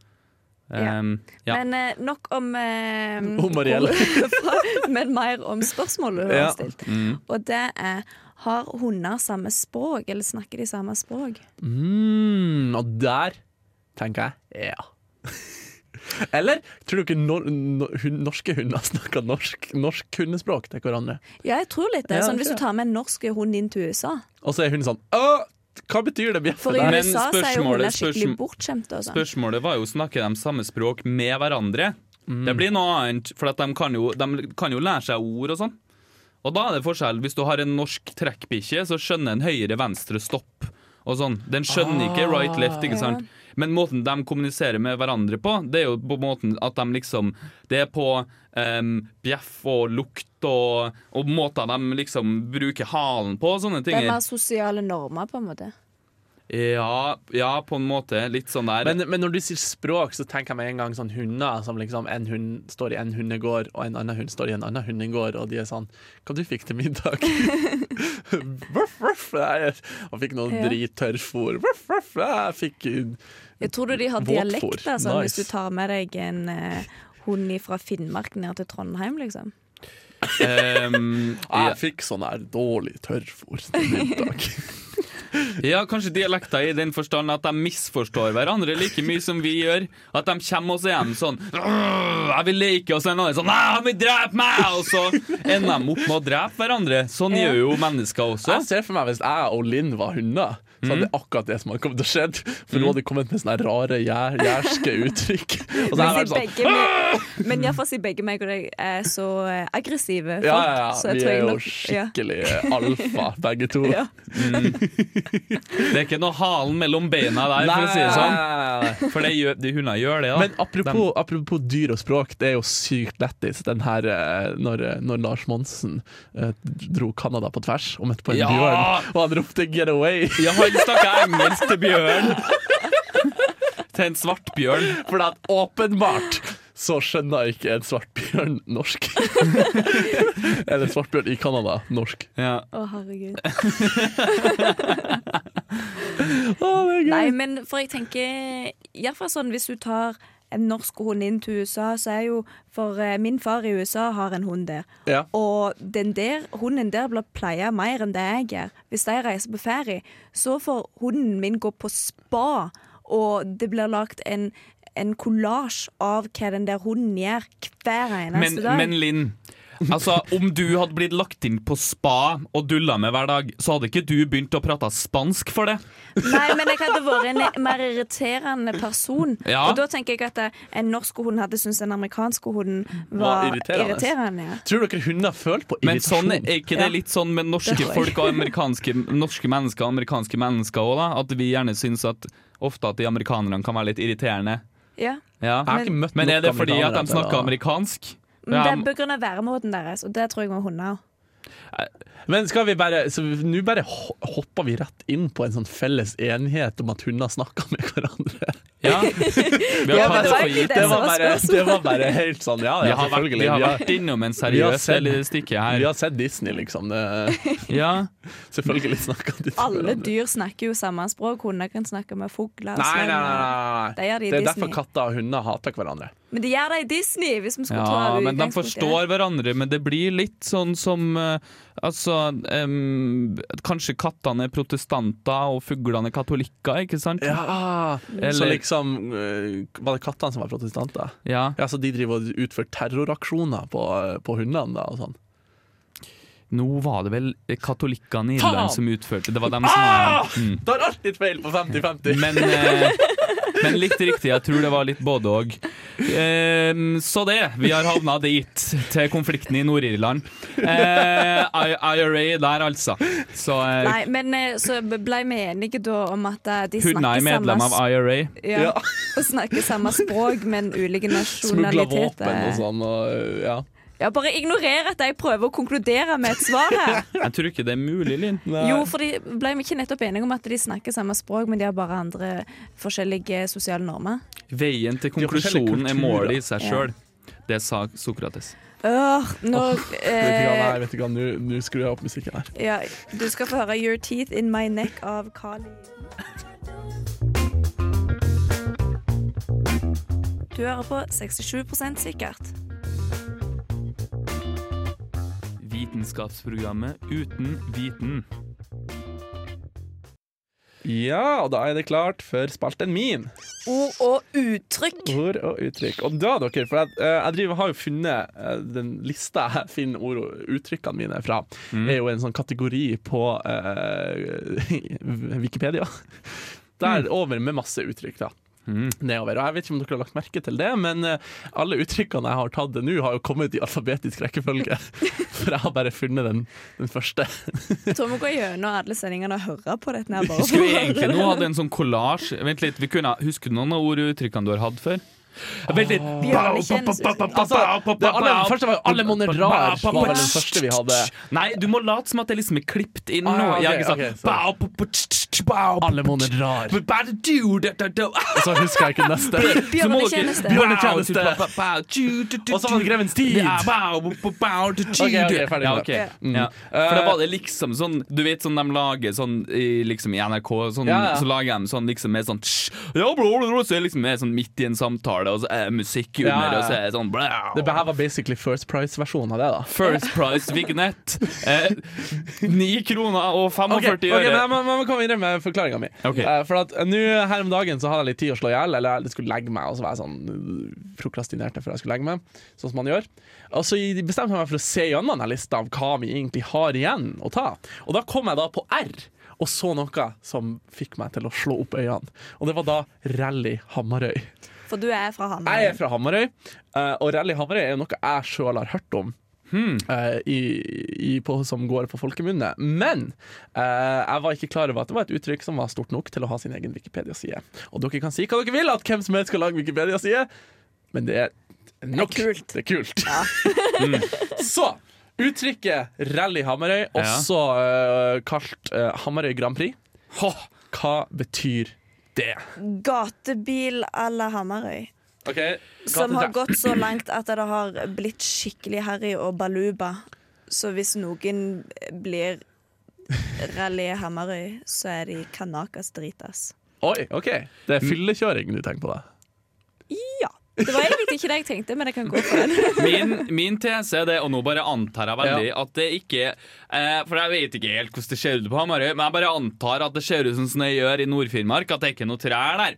Speaker 2: Ja.
Speaker 3: Ehm, ja.
Speaker 2: Men eh, nok om eh,
Speaker 1: Om Marielle.
Speaker 2: hvor- fra- [LAUGHS] men mer om spørsmålet hun
Speaker 1: Ja. Mm.
Speaker 2: har stilt. Og det er har hunder samme språk, eller snakker de samme språk?
Speaker 1: mm, Og der tenker jeg ja. [LAUGHS] Eller tror du ikke nor no hun- norske hunder snakker norsk, norsk hundespråk til hverandre?
Speaker 2: Ja, jeg tror litt det.
Speaker 1: Ja,
Speaker 2: Sånn,
Speaker 1: det
Speaker 2: hvis
Speaker 1: tror
Speaker 2: du
Speaker 1: jeg.
Speaker 2: tar med en norsk hund inn til USA
Speaker 1: Og så er hunden sånn Åh, hva betyr det
Speaker 2: For
Speaker 1: bjeffet
Speaker 2: i
Speaker 1: der?
Speaker 2: USA så er
Speaker 3: Men
Speaker 2: jo
Speaker 3: spørsmålet-
Speaker 2: hunder skikkelig
Speaker 3: spørsm-
Speaker 2: bortskjemte og sånn.
Speaker 3: Spørsmålet var jo snakker de samme språk med hverandre. Det blir noe annet, for at de, kan jo, de kan jo lære seg ord og sånn. Og da er det forskjell. Hvis du har en norsk trekkbikkje, så skjønner en høyre-venstre stopp. Og sånn. Den skjønner
Speaker 2: Ah,
Speaker 3: ikke right-left, ikke sant? Men måten de kommuniserer med hverandre på, det er jo på måten at de liksom Det er på em, bjeff og lukt og, og måter de liksom bruker halen på og sånne
Speaker 2: Det
Speaker 3: ting.
Speaker 2: er mer sosiale normer, på en måte.
Speaker 3: Ja, ja, på en måte. Litt sånn der.
Speaker 1: Men, men når du sier språk, så tenker jeg med en gang sånn hunder som liksom en hund står i en hundegård, og en annen hund står i en annen hundegård, og de er sånn Hva du fikk til middag? Voff, voff, jeg- og fikk noe
Speaker 2: Ja.
Speaker 1: drittørrfôr. Voff, voff, jeg fikk
Speaker 2: Jeg tror de har
Speaker 1: Våtfôr.
Speaker 2: dialekter, sånn,
Speaker 1: Nice.
Speaker 2: hvis du tar med deg en eh, hund fra Finnmark ned til Trondheim, liksom.
Speaker 3: em, ja.
Speaker 1: Jeg fikk sånn her dårlig tørrfôr til middag.
Speaker 3: Ja, kanskje dialekter i den forstand at de misforstår hverandre like mye som vi gjør. At de kommer oss igjen sånn «Åh, 'Jeg vil leke', og så er en annen sånn 'Nei, han vil drepe meg!' Og så ender de opp med å drepe hverandre. Sånn
Speaker 2: Ja.
Speaker 3: gjør jo mennesker også.
Speaker 1: Jeg ser for meg hvis jeg og Linn var hunder, så
Speaker 2: Mm.
Speaker 1: hadde det akkurat det som hadde kommet til å skje. For nå hadde det kommet med sånne rare gjær- jærske
Speaker 2: [LAUGHS]
Speaker 1: uttrykk. Og så
Speaker 2: Men,
Speaker 1: hadde jeg vært
Speaker 2: siden
Speaker 1: sånn
Speaker 2: begge meg, men iallfall siden begge meg og deg er så eh, aggressive folk,
Speaker 1: Ja, ja,
Speaker 2: så
Speaker 1: ja.
Speaker 2: jeg
Speaker 1: Vi
Speaker 2: tror
Speaker 1: er
Speaker 2: jeg
Speaker 1: jo
Speaker 2: nok- ja.
Speaker 1: skikkelig alfa,
Speaker 2: [LAUGHS]
Speaker 1: begge to.
Speaker 2: Ja.
Speaker 3: Det er ikke noe halen mellom beina der, for å si det sånn.
Speaker 1: Nei.
Speaker 3: For det gjør, de hundene gjør det, da.
Speaker 1: Men apropos, apropos dyr og språk, det er jo sykt lættis den her, eh, når, eh, når Lars Monsen eh, dro Canada på tvers og møtte på en
Speaker 3: Ja!
Speaker 1: bjørn, og han ropte 'get away'. [LAUGHS]
Speaker 3: Ja, han snakka engelsk til bjørn. Til en svart bjørn.
Speaker 1: For at åpenbart så skjønner ikke en svartbjørn
Speaker 2: [LAUGHS]
Speaker 1: norsk. [LAUGHS] Eller en svartbjørn i Canada norsk.
Speaker 3: Ja.
Speaker 2: Å,
Speaker 3: [LAUGHS]
Speaker 2: herregud.
Speaker 1: Å, det er gøy.
Speaker 2: Nei, men for jeg tenker Iallfall sånn hvis du tar en norsk hund inn til USA, så er jo For eh, min far i USA har en hund der.
Speaker 1: Ja.
Speaker 2: Og den der, hunden der blir pleia mer enn det jeg gjør. Hvis de reiser på ferie, så får hunden min gå på spa, og det blir lagd en en kollasj av hva den der hunden gjør hver
Speaker 3: Men,
Speaker 2: eneste dag.
Speaker 3: men Linn, altså, om du hadde blitt lagt inn på spa og dulla med hver dag, så hadde ikke du begynt å prate spansk for det?
Speaker 2: Nei, men jeg hadde vært en mer irriterende person.
Speaker 3: Ja.
Speaker 2: Og da tenker jeg at en norsk hund hadde syntes den amerikanske hunden
Speaker 1: Var
Speaker 2: var
Speaker 1: irriterende.
Speaker 2: irriterende.
Speaker 1: Tror dere hunder føler på
Speaker 3: Men sånn,
Speaker 1: irritasjon?
Speaker 3: er ikke det
Speaker 2: Ja.
Speaker 3: litt sånn med norske
Speaker 2: Det tror jeg.
Speaker 3: folk og amerikanske, norske mennesker og amerikanske mennesker òg, da? At vi gjerne syns at ofte at de amerikanerne kan være litt irriterende.
Speaker 2: Ja.
Speaker 3: Ja.
Speaker 1: Jeg har ikke møtt
Speaker 3: Men
Speaker 1: nok
Speaker 3: er det fordi at
Speaker 1: amerikanere
Speaker 3: de
Speaker 1: til å-
Speaker 3: snakker amerikansk?
Speaker 2: Men det
Speaker 3: Ja,
Speaker 2: er på grunn av væremåten deres, og det tror jeg med hunder òg.
Speaker 1: Men skal vi bare Så vi- nå bare ho- hopper vi rett inn på en sånn felles enighet om at hunder snakker med hverandre.
Speaker 2: [LAUGHS]
Speaker 3: ja. Vi
Speaker 2: Ja, men
Speaker 3: har tatt det for
Speaker 2: faktisk,
Speaker 3: gitt.
Speaker 1: Det var
Speaker 2: som var
Speaker 1: bare,
Speaker 2: spørsmålet.
Speaker 1: det var bare helt sånn, ja,
Speaker 3: Vi
Speaker 1: ja
Speaker 3: har vært,
Speaker 1: selvfølgelig.
Speaker 3: vi har
Speaker 1: Vi har,
Speaker 3: væst innom en
Speaker 1: vi har
Speaker 3: seriøs
Speaker 1: sett-
Speaker 3: del i det stikket
Speaker 1: vi
Speaker 3: her.
Speaker 1: har sett Disney, liksom. Det,
Speaker 2: [LAUGHS]
Speaker 3: Ja.
Speaker 1: selvfølgelig snakker de til
Speaker 2: Alle
Speaker 1: hverandre.
Speaker 2: dyr snakker jo samme språk. Hunder kan snakke med fugler. og
Speaker 1: Nei, nei,
Speaker 2: slenger.
Speaker 1: nei,
Speaker 2: Det
Speaker 1: nei.
Speaker 2: gjør de i
Speaker 1: Det er
Speaker 2: Disney.
Speaker 1: derfor katter og hunder hater hverandre.
Speaker 2: Men de gjør det i Disney, hvis vi skulle
Speaker 3: ja,
Speaker 2: ta
Speaker 3: men
Speaker 2: utgangspunkt
Speaker 3: de
Speaker 2: i det.
Speaker 3: forstår hverandre, men det blir litt sånn som eh, Altså, em, kanskje kattene er protestanter og fuglene er katolikker, ikke sant?
Speaker 1: Ja, Så
Speaker 3: Eller-
Speaker 1: liksom eh, Var det kattene som var protestanter?
Speaker 3: Ja.
Speaker 1: Ja, Så de driver og utfører terroraksjoner på, på hundene? da og sånn
Speaker 3: Nå var det vel katolikkene i
Speaker 1: Faen!
Speaker 3: Irland som utførte Det var dem som
Speaker 2: Ah!
Speaker 3: var mm.
Speaker 1: Det er alltid feil på 50-50!
Speaker 3: Men, eh, men litt riktig, jeg tror det var litt både og. Eh, så det, vi har havna dit, til konflikten i Nord-Irland. Eh, I- IRA der, altså. Så eh,
Speaker 2: Nei, men eh, så ble vi enige da om at eh, de
Speaker 3: hun er
Speaker 2: snakker
Speaker 3: medlem
Speaker 2: samme,
Speaker 3: av IRA.
Speaker 2: ja,
Speaker 1: Ja.
Speaker 2: [LAUGHS] og snakker samme språk, men ulike
Speaker 1: Smugla
Speaker 2: nasjonaliteter.
Speaker 1: våpen og sånn. Og, ja.
Speaker 2: Ja, bare ignorer at jeg prøver å konkludere med et svar
Speaker 3: [LAUGHS]
Speaker 2: her.
Speaker 3: Jeg tror ikke det er mulig, Linn.
Speaker 2: Jo, for de ble vi ikke nettopp enige om at de snakker samme språk, men de har bare andre forskjellige sosiale normer?
Speaker 3: Veien til
Speaker 1: har forskjellige
Speaker 3: konklusjonen
Speaker 1: kulturer.
Speaker 3: er målet i seg sjøl. Det sa Sokrates.
Speaker 2: Øh, nå
Speaker 1: Vet du hva,
Speaker 2: eh,
Speaker 1: nei, vet du hva, nå nå skrur jeg opp musikken her.
Speaker 2: ja, Du skal få høre 'Your Teeth In My Neck' av Kali. Du hører på 67 sikkert.
Speaker 3: Vitenskapsprogrammet uten viten.
Speaker 1: Ja, og da er det klart for spalten min.
Speaker 2: Ord og uttrykk.
Speaker 1: Ord og uttrykk. Og da, dere, for jeg, eh, jeg driver, har jo funnet eh, den lista jeg finner ord og uttrykkene mine fra, er jo en sånn kategori på eh, Wikipedia. Der over med masse uttrykk, da. Nedover. Og jeg vet ikke om dere har lagt merke til det, men eh, alle uttrykkene jeg har tatt det nå, har jo kommet i alfabetisk rekkefølge. For jeg har bare funnet den, den første.
Speaker 2: Jeg tror vi går gjennom alle sendingene og hører på dette. her bare
Speaker 3: Skulle vi
Speaker 2: for å høre
Speaker 3: egentlig
Speaker 2: det.
Speaker 3: nå hatt en sånn kollasj? Vent litt, vi kunne, Husker du noen av ord og uttrykkene du har hatt før? Vent litt!
Speaker 2: Bjørnekjens
Speaker 1: Altså, det aller første var jo alle monner rar, var vel den første vi hadde.
Speaker 3: Nei, du må late som at det liksom er klippet inn nå.
Speaker 1: Ah, ja, ok,
Speaker 3: Ja, ikke sant?
Speaker 1: ok, så-
Speaker 3: Bau, pu, pu, tsk, tsk, tsk, bau, pu,
Speaker 1: Alle monner rar.
Speaker 3: pu, bau, du, da, da, da.
Speaker 1: Og så husker jeg ikke neste.
Speaker 3: Så må dere-
Speaker 2: Bjørnetjeneste.
Speaker 3: Bjørnetjeneste.
Speaker 1: Bjørnetjeneste.
Speaker 3: Bau, bau, du, du, du,
Speaker 1: Og så var det Grevens tid.
Speaker 3: Ja, bau, pu, pu, bau, du, du,
Speaker 1: Ok, ok, Mm. Eh,
Speaker 3: du.
Speaker 1: ferdig med
Speaker 3: Ja,
Speaker 1: det.
Speaker 3: ok.
Speaker 2: Ja.
Speaker 3: Ja. For da var det liksom sånn Du vet sånn de lager sånn i, liksom, i NRK, sånn,
Speaker 1: Ja, ja.
Speaker 3: så lager de sånn liksom med sånn tsk, ja, bla, bla, bla, Så er det liksom med sånn midt i en samtale, og så er det musikk under,
Speaker 1: Ja, ja.
Speaker 3: og så er det sånn bla.
Speaker 1: Det her var basically First Price-versjonen av det, da.
Speaker 3: First Price vignett. Eh, 9 kroner og 45
Speaker 1: men
Speaker 3: øre.
Speaker 1: jeg må, jeg må komme videre med forklaringa mi.
Speaker 3: Ok.
Speaker 1: for at nå Her om dagen så hadde jeg litt tid å slå i hjel, eller jeg skulle legge meg. Og så var jeg sånn øh, prokrastinerte før jeg skulle legge meg, sånn som man gjør. Og så bestemte jeg meg for å se gjennom denne lista av hva vi egentlig har igjen å ta. Og da kom jeg da på R. og så noe som fikk meg til å slå opp øynene. Og det var da Rally Hamarøy.
Speaker 2: For du er fra Hamar.
Speaker 1: Jeg er fra Hamarøy, eh, og Rally Hamarøy er jo noe jeg sjøl har hørt om. eh, i, i på, som går på folkemunne. Men eh, jeg var ikke klar over at det var et uttrykk som var stort nok til å ha sin egen Wikipedia-side. Og dere kan si hva dere vil, at hvem som helst skal lage Wikipedia-side, men det er nok.
Speaker 2: Det er kult.
Speaker 1: Det er kult. [LAUGHS] Mm. Så uttrykket Rally Hamarøy, også eh, kalt eh, Hamarøy Grand Prix, hva betyr det?
Speaker 2: Gatebil à la Hamarøy.
Speaker 1: Ok,
Speaker 2: Som har
Speaker 1: gatetre.
Speaker 2: gått så langt at det har blitt skikkelig harry og baluba. Så hvis noen blir Rally Hamarøy, så er de kanakas dritas.
Speaker 1: Oi, ok Det er fyllekjøring du tenker på da
Speaker 2: Ja. Det var egentlig ikke det jeg tenkte, men jeg kan gå for den.
Speaker 3: Min, min tese er det, og nå bare antar jeg veldig,
Speaker 1: Ja.
Speaker 3: at det ikke eh, For jeg vet ikke helt hvordan det ser ut på Hamarøy, men jeg bare antar at det ser ut som sånn det gjør i Nord-Finnmark, at det er ikke noe trær der.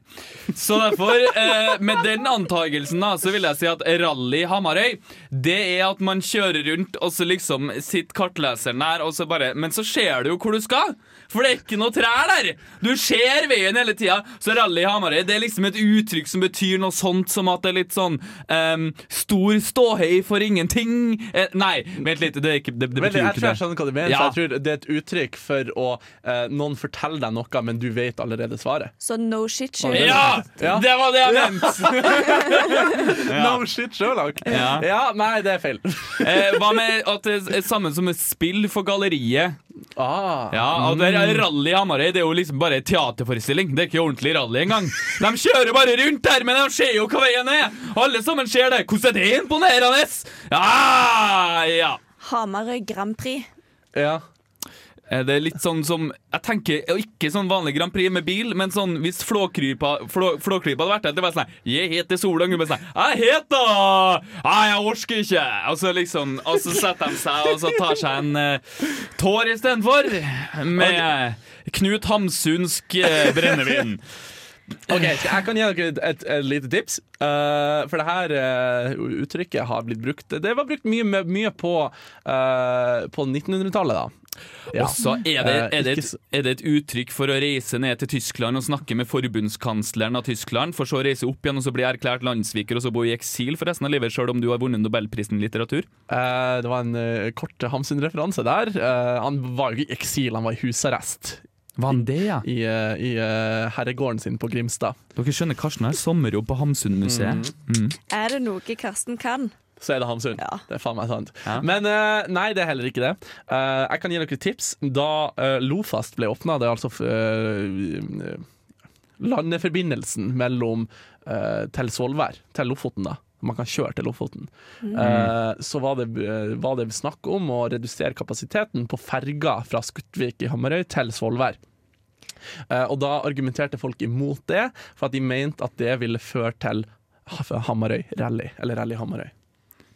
Speaker 3: Så derfor, eh, med den antagelsen, da, så vil jeg si at rally Hamarøy, det er at man kjører rundt, og så liksom sitter kartleseren der, og så bare Men så ser du jo hvor du skal! For det er ikke noe trær der! Du ser veien hele tida. Så rally Hamarøy det er liksom et uttrykk som betyr noe sånt som at det er litt sånn ehm, Stor ståhei for ingenting. Eh, nei, vent litt. Det, er ikke, det, det
Speaker 1: Vel,
Speaker 3: betyr jo
Speaker 1: jeg
Speaker 3: ikke
Speaker 1: tror jeg
Speaker 3: det.
Speaker 1: skjønner hva du mener
Speaker 3: Ja.
Speaker 1: for Jeg tror det er et uttrykk for å eh, Noen forteller deg noe, men du vet allerede svaret [LAUGHS]
Speaker 2: Så no shit shoot.
Speaker 3: Ja!
Speaker 1: Ja.
Speaker 3: Det var det jeg mente!
Speaker 1: No shit, Sherlock
Speaker 3: Ja.
Speaker 1: nei, det er [LAUGHS] feil
Speaker 3: Eh, hva med at det er samme som et spill for galleriet?
Speaker 1: ah.
Speaker 3: Ja, og der er Rally i Hamarøy det er jo liksom bare en teaterforestilling. Det er ikke ordentlig rally engang. De kjører bare rundt der, men de ser jo hva veien er! Alle sammen ser det! Hvordan er det imponerende?! Ja, ja.
Speaker 2: Hamarøy Grand Prix.
Speaker 1: Ja.
Speaker 3: Eh, Det er litt sånn som Jeg tenker eh, ikke sånn vanlig Grand Prix med bil, men sånn hvis Flåklypa flå, Flåklypa hadde vært der, det var sånn her, 'Jeg heter Sola Gubben'. Sånn, her, 'Jeg heter Nei, jeg orker ikke'. Og så liksom Og så setter de seg og så tar seg en eh, tår istedenfor. Med Knut Hamsunsk eh, brennevin.
Speaker 1: Ok, så jeg kan gi dere et, et, et lite tips Eh, For det her eh, uttrykket har blitt brukt Det var brukt mye, med- mye på eh, På 1900-tallet da ja.
Speaker 3: Og så er det,
Speaker 1: Eh,
Speaker 3: er, det
Speaker 1: ikke
Speaker 3: et,
Speaker 1: så-
Speaker 3: er det et uttrykk for å reise ned til Tyskland og snakke med forbundskansleren av Tyskland, for så å reise opp igjen og så bli erklært landssviker og så bo i eksil for resten av livet, sjøl om du har vunnet Nobelprisen i litteratur?
Speaker 1: Eh, det var en eh, kort Hamsun-referanse der Eh, Han var jo ikke i eksil, han var i husarrest
Speaker 3: Var han det, ja?
Speaker 1: i, eh, i eh, herregården sin på Grimstad,
Speaker 3: Dere skjønner, Karsten har sommerjobb på Hamsunmuseet. Mm.
Speaker 2: Er det noe Karsten kan?
Speaker 1: så er det Hamsun.
Speaker 2: Ja.
Speaker 1: Det er faen meg sant.
Speaker 3: Ja.
Speaker 1: Men eh, nei, det er heller ikke det. Eh, jeg kan gi dere et tips. Da eh, Lofast ble åpna, det er altså eh, landeforbindelsen mellom eh, til Svolvær, til Lofoten, da. Man kan kjøre til Lofoten. Eh, så var det, eh, var det snakk om å redusere kapasiteten på ferga fra Skutvik i Hamarøy til Svolvær. Eh, og da argumenterte folk imot det, for at de mente at det ville føre til Ha- Hamarøy rally, eller Rally Hamarøy.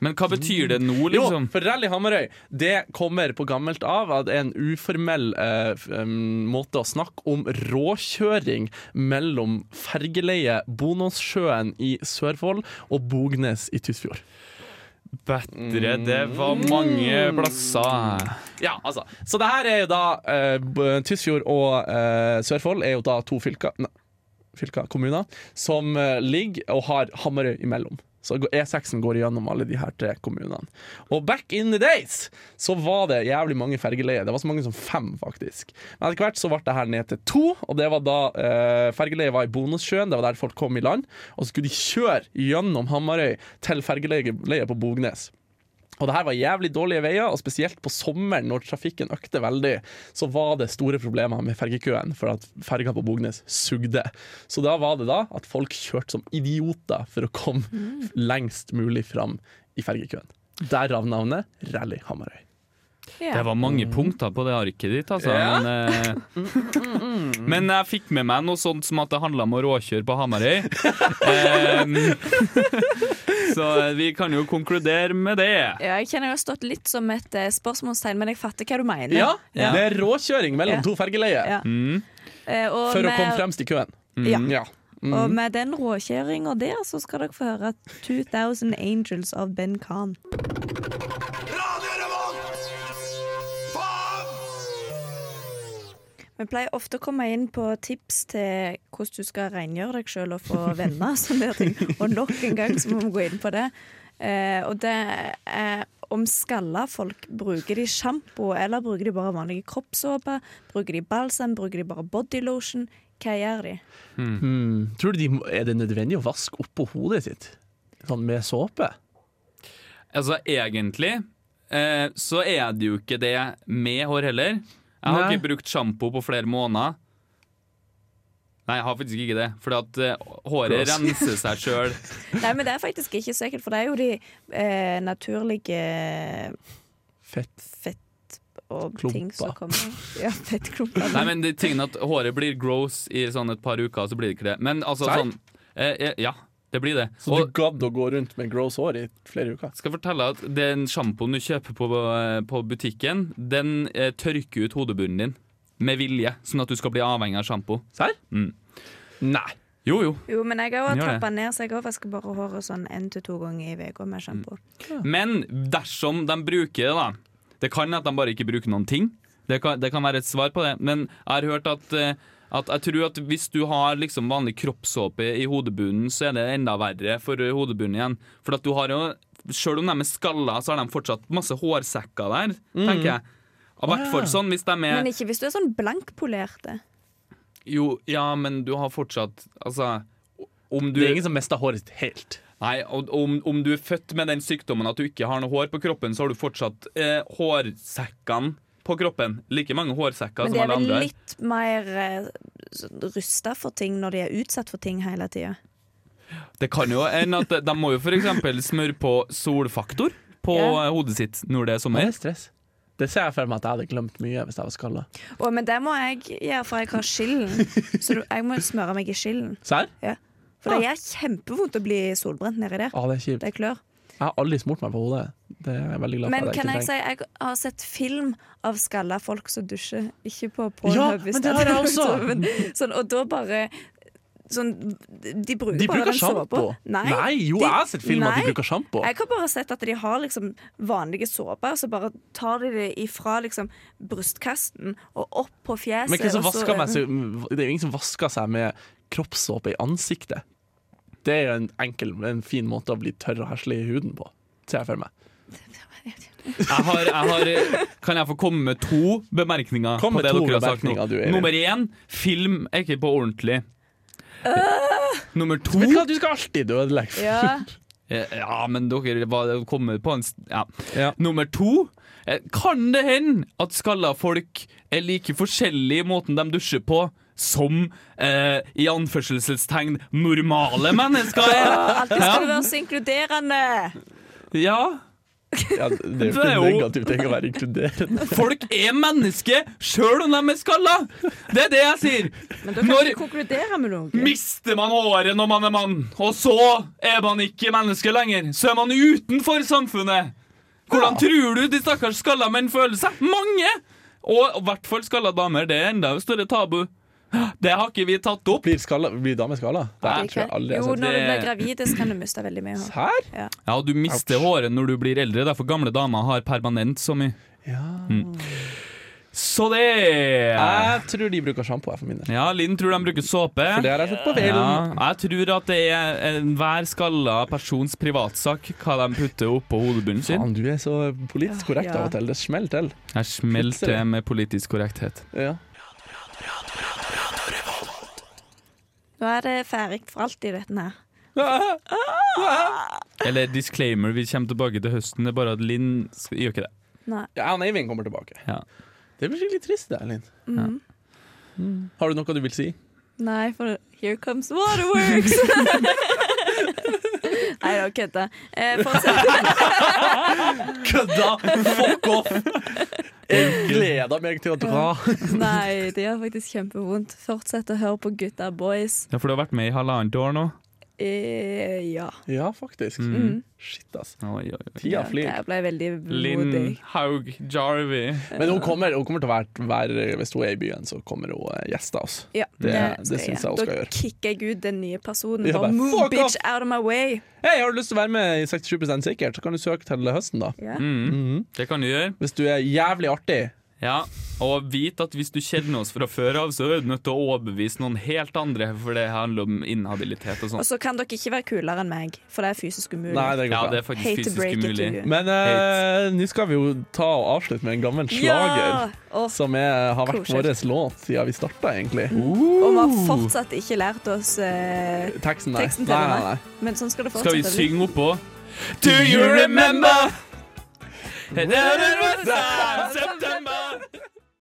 Speaker 3: Men hva betyr det nå,
Speaker 1: Jo,
Speaker 3: liksom?
Speaker 1: for Rally Hamarøy Det kommer på gammelt av at det er en uformell eh, f- em, måte å snakke om råkjøring mellom fergeleie Bonåssjøen i Sørfold og Bognes i Tysfjord.
Speaker 3: Bedre, det var mange plasser.
Speaker 1: Ja, altså. Så det her er jo da eh, B- Tysfjord og eh, Sørfold er jo da to fylker, ne, fylker kommuner, som eh, ligger og har Hamarøy imellom. Så gå- E6-en går gjennom alle de her tre kommunene. Og back in the days så var det jævlig mange fergeleier. Det var så mange som fem, faktisk. Men etter hvert så ble det her ned til to, og det var da eh, fergeleiet var i Bonussjøen. Det var der folk kom i land. Og så skulle de kjøre gjennom Hamarøy til fergeleiet på Bognes. Og det her var jævlig dårlige veier, og spesielt på sommeren når trafikken økte veldig, så var det store problemer med fergekøen, for at ferga på Bognes sugde. Så da var det da at folk kjørte som idioter for å komme lengst mulig fram i fergekøen. Derav navnet Rally Hamarøy.
Speaker 2: Ja.
Speaker 3: Det var mange punkter på det arket ditt, altså.
Speaker 1: Ja.
Speaker 3: Men, eh, men jeg fikk med meg noe sånt som at det handla om å råkjøre på Hamarøy. Em, [LAUGHS] så vi kan jo konkludere med det.
Speaker 2: Ja, jeg kjenner jeg har stått litt som et eh, spørsmålstegn, men jeg fatter hva du mener.
Speaker 1: Ja,
Speaker 3: Ja.
Speaker 1: det er råkjøring mellom
Speaker 2: Ja.
Speaker 1: to fergeleier
Speaker 2: Ja. Eh, og
Speaker 1: for å
Speaker 2: med-
Speaker 1: komme fremst i køen. Mm.
Speaker 2: Ja.
Speaker 3: Mm.
Speaker 1: Ja.
Speaker 2: Og med den råkjøringa der, så skal dere få høre 2000 Angels av Ben Khan. Vi pleier ofte å komme inn på tips til hvordan du skal rengjøre deg sjøl og få venner. og Sånne der ting. Og nok en gang så må vi gå inn på det. Eh, og det er om skalla folk bruker de sjampo, eller bruker de bare vanlige kroppssåpe? Bruker de balsam? Bruker de bare bodylotion? Hva gjør de?
Speaker 1: Hmm. Tror du de, må- er det nødvendig å vaske oppå hodet sitt? Sånn med såpe?
Speaker 3: Altså, egentlig eh, så er det jo ikke det med hår heller. Jeg har
Speaker 1: Nei.
Speaker 3: ikke brukt sjampo på flere måneder. Nei, jeg har faktisk ikke det. For at eh, håret
Speaker 1: Gross.
Speaker 3: renser seg sjøl.
Speaker 2: Nei, men det er faktisk ikke sikkert, for det er jo de eh, naturlige
Speaker 1: Fett.
Speaker 2: fett og
Speaker 1: Klumper.
Speaker 2: ting som kommer. Ja, fettklumper.
Speaker 3: [LAUGHS] Nei, men det tingen at håret blir gross i sånn et par uker, så blir det ikke det. Men altså
Speaker 1: Serr?
Speaker 3: sånn eh, Ja, det blir det.
Speaker 1: Så du
Speaker 3: Og
Speaker 1: gadd å gå rundt med gross hår i flere uker?
Speaker 3: skal jeg fortelle at den sjampoen du kjøper på, eh, på butikken, den eh, tørker ut hodebunnen din med vilje, sånn at du skal bli avhengig av sjampo.
Speaker 1: Serr?
Speaker 3: Mm.
Speaker 1: Nei.
Speaker 3: Jo, jo.
Speaker 2: Jo, men jeg har
Speaker 3: Den
Speaker 2: også
Speaker 3: gjør det.
Speaker 2: trappa ned, så jeg også vasker bare håret sånn én til to ganger i uka med sjampo.
Speaker 3: Mm. Men dersom de bruker det, da Det kan at de bare ikke bruker noen ting. Det kan, det kan være et svar på det. Men jeg har hørt at, eh, at jeg tror at hvis du har liksom vanlig kroppssåpe i hodebunnen, så er det enda verre for eh, hodebunnen igjen. For at du har jo Sjøl om de er skalla, så har de fortsatt masse hårsekker der,
Speaker 1: Mm.
Speaker 3: tenker jeg. I hvert fall sånn hvis de er
Speaker 2: Men ikke hvis du er sånn blankpolerte.
Speaker 3: Jo, ja, men du har fortsatt Altså, om du
Speaker 1: Det er ingen som mister håret sitt helt.
Speaker 3: Nei, og om, om du er født med den sykdommen at du ikke har noe hår på kroppen, så har du fortsatt eh, hårsekkene på kroppen. Like mange hårsekker
Speaker 2: Men
Speaker 3: som
Speaker 2: de er
Speaker 3: alle
Speaker 2: vel
Speaker 3: andre.
Speaker 2: litt mer eh, rusta for ting når de er utsatt for ting hele tida.
Speaker 3: Det kan jo en at De må jo f.eks. smøre på solfaktor på
Speaker 2: Ja.
Speaker 3: eh, hodet sitt når
Speaker 1: Det
Speaker 3: det er
Speaker 1: er
Speaker 3: sommer.
Speaker 1: stress. Det ser jeg for meg at jeg hadde glemt mye hvis jeg var skalla.
Speaker 2: Å, men det må jeg gjøre, for jeg har
Speaker 3: [LAUGHS]
Speaker 2: skillen. Så du- jeg må smøre meg i skillen.
Speaker 1: Serr?
Speaker 2: Ja. For
Speaker 3: Ah.
Speaker 2: det gjør kjempevondt å bli solbrent nedi der.
Speaker 1: Ah, det er kjipt.
Speaker 2: Det klør.
Speaker 1: Jeg har aldri smurt meg på hodet. Det er jeg veldig glad
Speaker 2: Men
Speaker 1: for. at
Speaker 2: kan jeg si
Speaker 1: ikke
Speaker 2: jeg har sett film av skalla folk som dusjer. Ikke på
Speaker 1: Ja,
Speaker 2: Pornhub. hvis
Speaker 1: men det
Speaker 2: er
Speaker 1: har jeg
Speaker 2: noe [LAUGHS]
Speaker 1: også.
Speaker 2: sånt, men Sånn, og da bare Sånn, de bruker,
Speaker 1: De
Speaker 2: bare
Speaker 1: bruker
Speaker 2: den
Speaker 1: sjampo!
Speaker 2: såpa. Nei,
Speaker 1: jo,
Speaker 2: de-
Speaker 1: jeg har sett film at de
Speaker 2: nei.
Speaker 1: bruker sjampo.
Speaker 2: Jeg har bare sett at de har liksom vanlige såper, og så bare tar de det ifra liksom brystkasten og opp på fjeset.
Speaker 1: Men hvem som
Speaker 2: og så-
Speaker 1: vasker meg, så, det er jo ingen som vasker seg med kroppssåpe i ansiktet. Det er jo en enkel, en fin måte å bli tørr og heslig i huden på, ser jeg for meg.
Speaker 3: Jeg har, jeg har, eh, kan jeg få komme med to bemerkninger?
Speaker 1: Kom med
Speaker 3: på det
Speaker 1: to
Speaker 3: dere har sagt nå?
Speaker 1: bemerkninger, du, Eivind.
Speaker 3: Nummer én film er ikke på ordentlig.
Speaker 2: Øh.
Speaker 3: Nummer to
Speaker 1: Vet du hva, du skal alltid ødelegge.
Speaker 2: Ja.
Speaker 3: Eh, Ja, men dere var- kommer på en s- ja.
Speaker 1: [LAUGHS] Ja.
Speaker 3: Nummer to eh, Kan det hende at skalla folk er like forskjellige i måten de dusjer på som eh, i anførselstegn normale
Speaker 2: [LAUGHS]
Speaker 3: mennesker er?
Speaker 2: Alltid skal det være så inkluderende!
Speaker 3: Ja,
Speaker 1: Ja, det er jo
Speaker 3: Det er
Speaker 1: ikke
Speaker 3: jo-
Speaker 1: negativt ting å være inkluderende.
Speaker 3: folk er mennesker sjøl om de er skalla! Det er det jeg sier.
Speaker 2: Men da kan
Speaker 3: Når-
Speaker 2: du konkludere med noe.
Speaker 3: Mister man håret når man er mann, og så er man ikke menneske lenger, så er man utenfor samfunnet. Hvordan tror du de stakkars skalla menn føler seg? Mange! Og i hvert fall skalla damer. Det er enda større tabu. Det har ikke vi tatt opp.
Speaker 1: Blir, skalla, blir dame skalla? Det
Speaker 3: Nei,
Speaker 1: her tror jeg aldri altså, jeg
Speaker 2: jo,
Speaker 1: har
Speaker 2: når du blir
Speaker 3: det-
Speaker 2: gravid, så kan du miste veldig mye hår.
Speaker 1: sett. Her?
Speaker 3: Ja, og du mister håret når du blir eldre, derfor gamle damer har permanent så mye. Mm.
Speaker 1: Ja.
Speaker 3: Så det
Speaker 1: Jeg tror de bruker sjampo, jeg, for min del.
Speaker 3: Ja, Linn tror de bruker såpe.
Speaker 1: For det har jeg sett på film.
Speaker 3: Ja, jeg tror at det er enhver skalla persons privatsak hva de putter oppå hodebunnen sin.
Speaker 1: Faen, du er så politisk korrekt
Speaker 2: Ja.
Speaker 1: av og til. Det smeller til.
Speaker 3: Jeg smelter
Speaker 1: Plutselig.
Speaker 3: med politisk korrekthet.
Speaker 1: Ja. [LAUGHS]
Speaker 2: Nå er det ferdig for alltid, dette her.
Speaker 3: Eller disclaimer, vi kommer tilbake til høsten. Det er bare at Linn sk- gjør ikke det.
Speaker 2: Nei.
Speaker 1: Jeg og Eivind kommer tilbake.
Speaker 3: Ja.
Speaker 1: Det blir skikkelig trist, det, Erlend.
Speaker 2: Mhm.
Speaker 3: Mm.
Speaker 1: Har du noe du vil si?
Speaker 2: Nei, for Here comes waterworks! [LAUGHS] Nei, da kødda. Eh, for å se-
Speaker 1: Kødda! Fuck off! Jeg gleder meg til å dra.
Speaker 2: Nei, det gjør faktisk kjempevondt. Fortsett å høre på Gutta Boys.
Speaker 3: Ja, for du har vært med i halvannet år nå.
Speaker 2: Eh, ja.
Speaker 1: Ja, faktisk.
Speaker 3: Mm.
Speaker 1: Shit, ass.
Speaker 3: Oi, oi, oi.
Speaker 1: Tida
Speaker 2: Mm. Ja,
Speaker 1: flyr.
Speaker 2: Det ble veldig
Speaker 3: Linn
Speaker 2: modig.
Speaker 3: Haug Jarvi.
Speaker 1: Men hun kommer, hun kommer til å være, være Hvis hun er i byen, så kommer hun eh, gjeste oss.
Speaker 2: Ja,
Speaker 1: Det- det
Speaker 2: skal
Speaker 1: synes jeg også skal
Speaker 2: Da
Speaker 1: gjøre.
Speaker 2: kicker jeg ut den nye personen.
Speaker 1: Ja,
Speaker 2: Bare,
Speaker 1: bare,
Speaker 2: move
Speaker 1: fuck
Speaker 2: bitch out of my way!
Speaker 1: Hei, har du lyst til å være med i 67 sikkert, så kan du søke til høsten, da.
Speaker 2: Ja.
Speaker 3: Mm. Det kan du gjøre.
Speaker 1: Hvis du er jævlig artig,
Speaker 3: Ja, og vit at hvis du kjenner oss fra før av, så er du nødt til å overbevise noen helt andre, for det handler om inhabilitet og
Speaker 2: Og
Speaker 3: sånn.
Speaker 2: så kan dere ikke være kulere enn meg, for Altså, det er fysisk umulig.
Speaker 1: Nei, det
Speaker 3: Ja,
Speaker 1: går
Speaker 3: det
Speaker 1: bra.
Speaker 3: er faktisk
Speaker 2: Hate to break it
Speaker 3: fysisk
Speaker 2: to
Speaker 3: umulig.
Speaker 2: you.
Speaker 1: Men eh, nå skal vi jo ta og avslutte med en gammel slager.
Speaker 2: Ja! Og,
Speaker 1: Som er, eh, har vært
Speaker 2: Koselig. Mm.
Speaker 1: vår låt siden vi starta, egentlig.
Speaker 2: og vi har fortsatt ikke lært oss eh,
Speaker 1: Teksten, nei.
Speaker 2: teksten til
Speaker 1: nei, nei,
Speaker 2: denne.
Speaker 1: nei.
Speaker 2: Men sånn skal det
Speaker 3: Skal
Speaker 2: fortsette.
Speaker 3: vi synge oppå? Do you remember? September